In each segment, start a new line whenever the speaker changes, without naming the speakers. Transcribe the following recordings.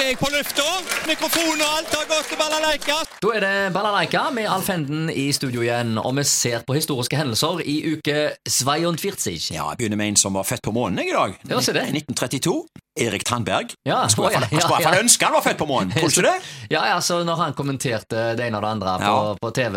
er jeg på lufta. Mikrofon og alt har gått til balalaika.
Da er det Balalaika med Alf Henden i studio igjen, og vi ser på historiske hendelser i uke 42.
Ja, jeg begynner med en som var født på månen jeg, i dag.
Ja, se det.
1932. Erik Tandberg.
Ja,
Jeg skulle i hvert fall- jeg skulle i hvert fall ønske han var født på månen. Tror du ikke det?
Ja, ja, så Når han kommenterte det ene og det andre på,
Ja.
på TV,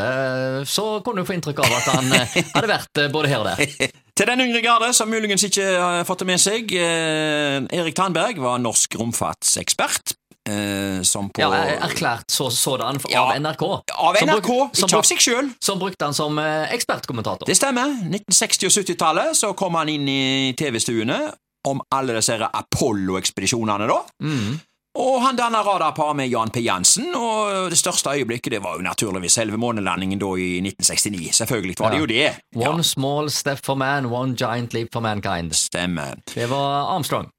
så kunne du få inntrykk av at han eh, hadde vært eh, både her og der.
Til den yngre garde, som muligens ikke har fått det med seg, eh, Erik Tandberg var norsk romfartsekspert. Eh, som på
Ja, er- Erklært så, sådan for-
Ja.
av NRK.
Av
Som
NRK,
bruk- som
ikke av
bruk-
seg sjøl.
Som brukte han som eh, ekspertkommentator.
Det stemmer. 1960- og 70-tallet så kom han inn i TV-stuene om alle disse her Apollo-ekspedisjonene, da.
Mm.
Og han danna radarpar med Jan P. Jansen, og det største øyeblikket det var jo naturligvis selve månelandingen da i 1969. Selvfølgelig var det
Ja.
jo det.
One small step for man, one giant leap for mankind.
Stemmer.
Det var Armstrong.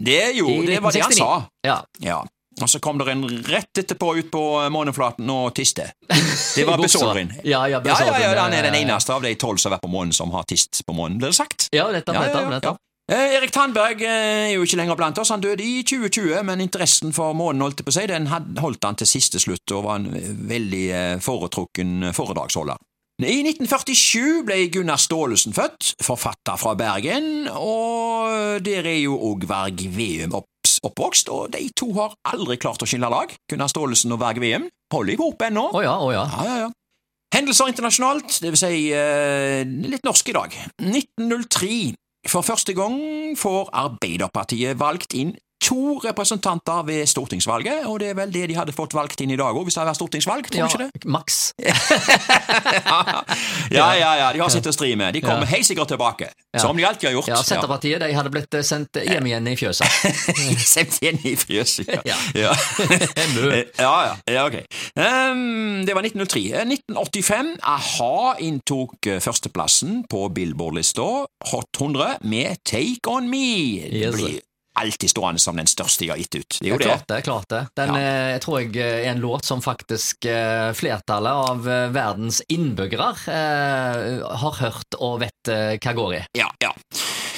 Det er jo,
I
det var det han
1969.
sa.
Ja.
Ja. Og så kom det en rett etterpå ut på eh, måneflaten og tiste. Det var
I buksa.
Besårin.
Ja,
Ja, ja,
ja, Besåren,
ja, han er den
eh,
eneste av de tolv som har vært på månen som har tist på månen, blir det sagt.
Ja, nettopp.
Ja, ja,
nettopp,
ja,
nettopp.
ja. Eh, Erik Tandberg eh, er jo ikke lenger blant oss. Han døde i 2020, men interessen for månen holdt jeg på å si, den had- holdt han til siste slutt, og var en eh, veldig eh, foretrukken foredragsholder. I 1947 ble Gunnar Staalesen født, forfatter fra Bergen, og der er jo òg Varg Veum opps- oppvokst, og de to har aldri klart å skille lag. Gunnar Staalesen og Varg Veum holder i hop ennå.
Å ja, å ja.
Ja, ja, ja. Hendelser internasjonalt, det vil si eh, litt norsk i dag. 1903. For første gang får Arbeiderpartiet valgt inn to representanter ved stortingsvalget, og det er vel det de hadde fått valgt inn i dag òg, hvis det hadde vært stortingsvalg, tror du
ja
ikke det?
Max.
Ja, ja, ja, de har sitt å stri med. De kommer
Ja.
helt sikkert tilbake,
Ja.
som de alltid har gjort.
Ja, Senterpartiet de hadde blitt eh, sendt hjem igjen i fjøset.
Sendt igjen i fjøset,
Ja.
ja. ja. Eh, Ja, ja. ja ok. Ehm, det var 1903. Eh, 1985. A-ha inntok eh, førsteplassen på Billboard-lista Hot 100 med Take On Me. Det
Yes.
blir alltid stående som den største jeg har gitt ut. Det er jo
Jeg
det.
klarte det. klart det. Den
Ja.
eh, tror jeg eh, er en låt som faktisk eh, flertallet av eh, verdens innbyggere eh, har hørt og vet eh, hva går i.
Ja, ja.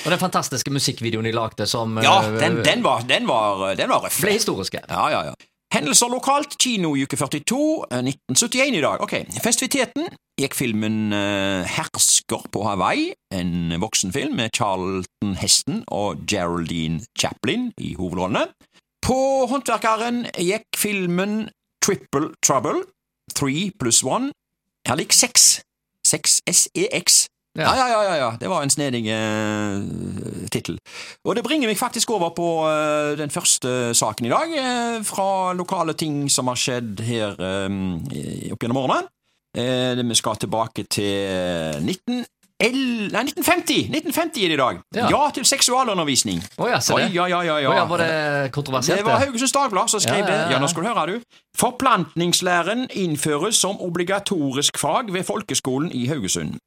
Og den fantastiske musikkvideoen de lagde som eh,
ja den, den var, den var, den var røff.
ble historiske.
Ja, ja, ja. Hendelser lokalt, kino i uke 42, eh, 1971 i dag. Ok, festiviteten gikk filmen eh, Hersker på Hawaii, en voksenfilm med Charlton Heston og Geraldine Chaplin i hovedrollene. På Håndverkeren gikk filmen Triple Trouble, Three pluss One, her ligger seks. Seks, S-E-X.
Ja.
Ja. Ja, ja, ja, ja, det var en snedig eh, tittel. Og det bringer meg faktisk over på eh, den første saken i dag, eh, fra lokale ting som har skjedd her eh, i- opp gjennom årene. Eh, vi skal tilbake til 19... el- nei, 1950! 1950 er det i dag.
Ja.
Ja, til seksualundervisning.
Å ja, se
Oi,
det.
ja, ja, ja, ja.
Å ja, var det kontroversielt?
Det var Haugesunds Dagblad som skrev
Ja, ja, ja.
det. Ja, nå skal du høre, du. Forplantningslæren innføres som obligatorisk fag ved folkeskolen i Haugesund.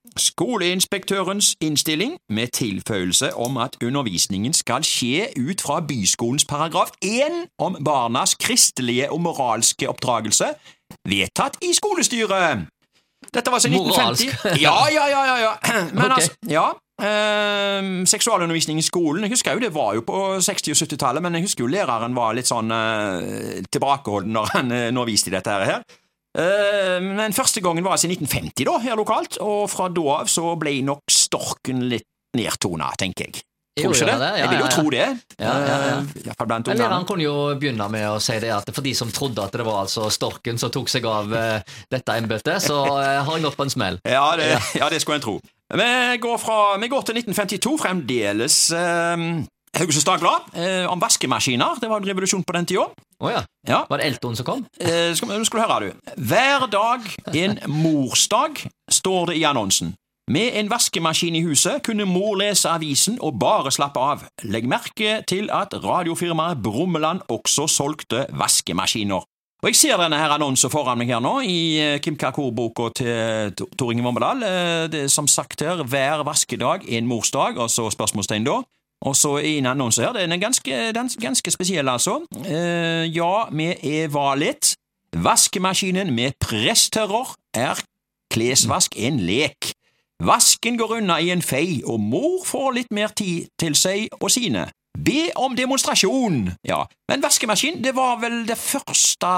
Skoleinspektørens innstilling, med tilføyelse om at undervisningen skal skje ut fra byskolens paragraf 1 om barnas kristelige og moralske oppdragelse, vedtatt i skolestyret. Dette var altså så 1950.
Moralsk.
Ja, ja, ja, ja, ja. Men
Ok.
altså, ja. ehm, seksualundervisning i skolen Jeg husker jo det var jo på 60- og 70-tallet, men jeg husker jo læreren var litt sånn eh, tilbakeholden når han eh, underviste i dette her. Eh, men første gangen var altså i 1950, da, her lokalt, og fra da av så ble nok storken litt nedtona, tenker jeg. Tror du ikke det? Jeg vil jo tro det.
Ja, ja, ja.
Eh, i hvert fall blant
Eller han
ungene.
kunne jo begynne med å si det at for de som trodde at det var altså storken som tok seg av eh, dette embetet, så eh, har jeg gått på en smell.
Ja, det, ja, det skulle en tro. Vi går, fra, vi går til 1952, fremdeles eh, Haugesunds Dagblad, eh, om vaskemaskiner. Det var en revolusjon på den tida.
Å ja.
Ja.
Var det Elton som kom?
Eh, skal, nå skal du høre, du. Hver dag en morsdag, står det i annonsen. Med en vaskemaskin i huset kunne mor lese avisen og bare slappe av. Legg merke til at radiofirmaet Brummeland også solgte vaskemaskiner. Og Jeg ser denne her annonsen foran meg her nå, i eh, Kim Kakor-boka til Tor- Tor Inge Vombedal. Eh, Det er som sagt her hver vaskedag en morsdag, og så spørsmålstegn da. Og så i en annonse her, den er ganske, den er ganske spesiell, altså. Eh, ja, vi er valet. Vaskemaskinen med presstørrer er klesvask en lek. Vasken går unna i en fei, og mor får litt mer tid til seg og sine. Be om demonstrasjon! Ja, men vaskemaskin det var vel det første,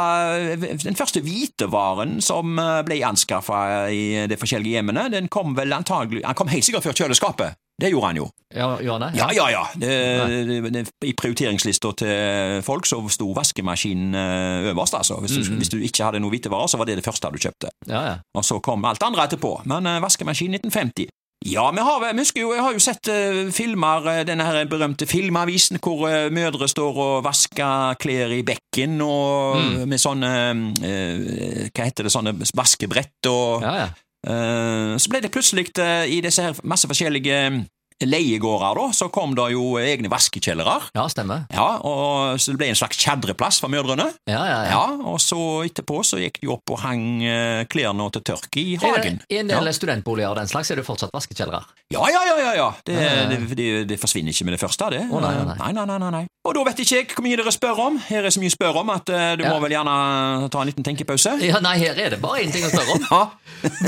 den første hvitevaren som eh, ble anskaffa i de forskjellige hjemmene. Den kom vel antagelig Han kom helt sikkert før kjøleskapet. Det gjorde han jo.
Ja, gjør han det?
Ja, ja, ja. Det, det, det, I prioriteringslista til folk så sto vaskemaskinen eh, øverst, altså. Hvis du,
Mhm.
hvis du ikke hadde noen hvitevarer, så var det det første du kjøpte.
Ja, ja.
Og så kom alt andre etterpå. Men eh, vaskemaskin 1950. Ja, vi har, vi husker jo, jeg har jo sett eh, filmer, eh, denne her berømte filmavisen, hvor eh, mødre står og vasker klær i bekken og
Mhm.
med sånne eh, Hva heter det, sånne vaskebrett og
ja, ja.
Eh, Så ble det plutselig, eh, i disse her masse forskjellige eh, leiegårder, da, så kom det jo egne vaskekjellere.
ja stemmer.
Ja, og så det ble en slags tjadreplass for mødrene.
Ja, ja, ja.
Ja, og så etterpå så gikk de opp og hang eh, klærne til tørk i
I,
hagen.
I en del studentboliger og den slags er det fortsatt vaskekjellere.
Ja, ja, ja, ja, ja. Det,
Ja, ja, ja.
det, det, det forsvinner ikke med det første, det.
Å, nei, nei, nei.
nei, nei, nei, nei, nei. Og da vet ikke jeg hvor mye dere spør om. Her er så mye spør om at eh, du
Ja.
må vel gjerne ta en liten tenkepause.
Ja, nei, her er det bare én ting å spørre om.
Ja,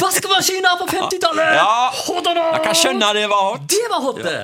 Vaskemaskiner på 50-tallet!
Ja.
Hodana!
jeg kan skjønne det var hot.
Det var hot, det!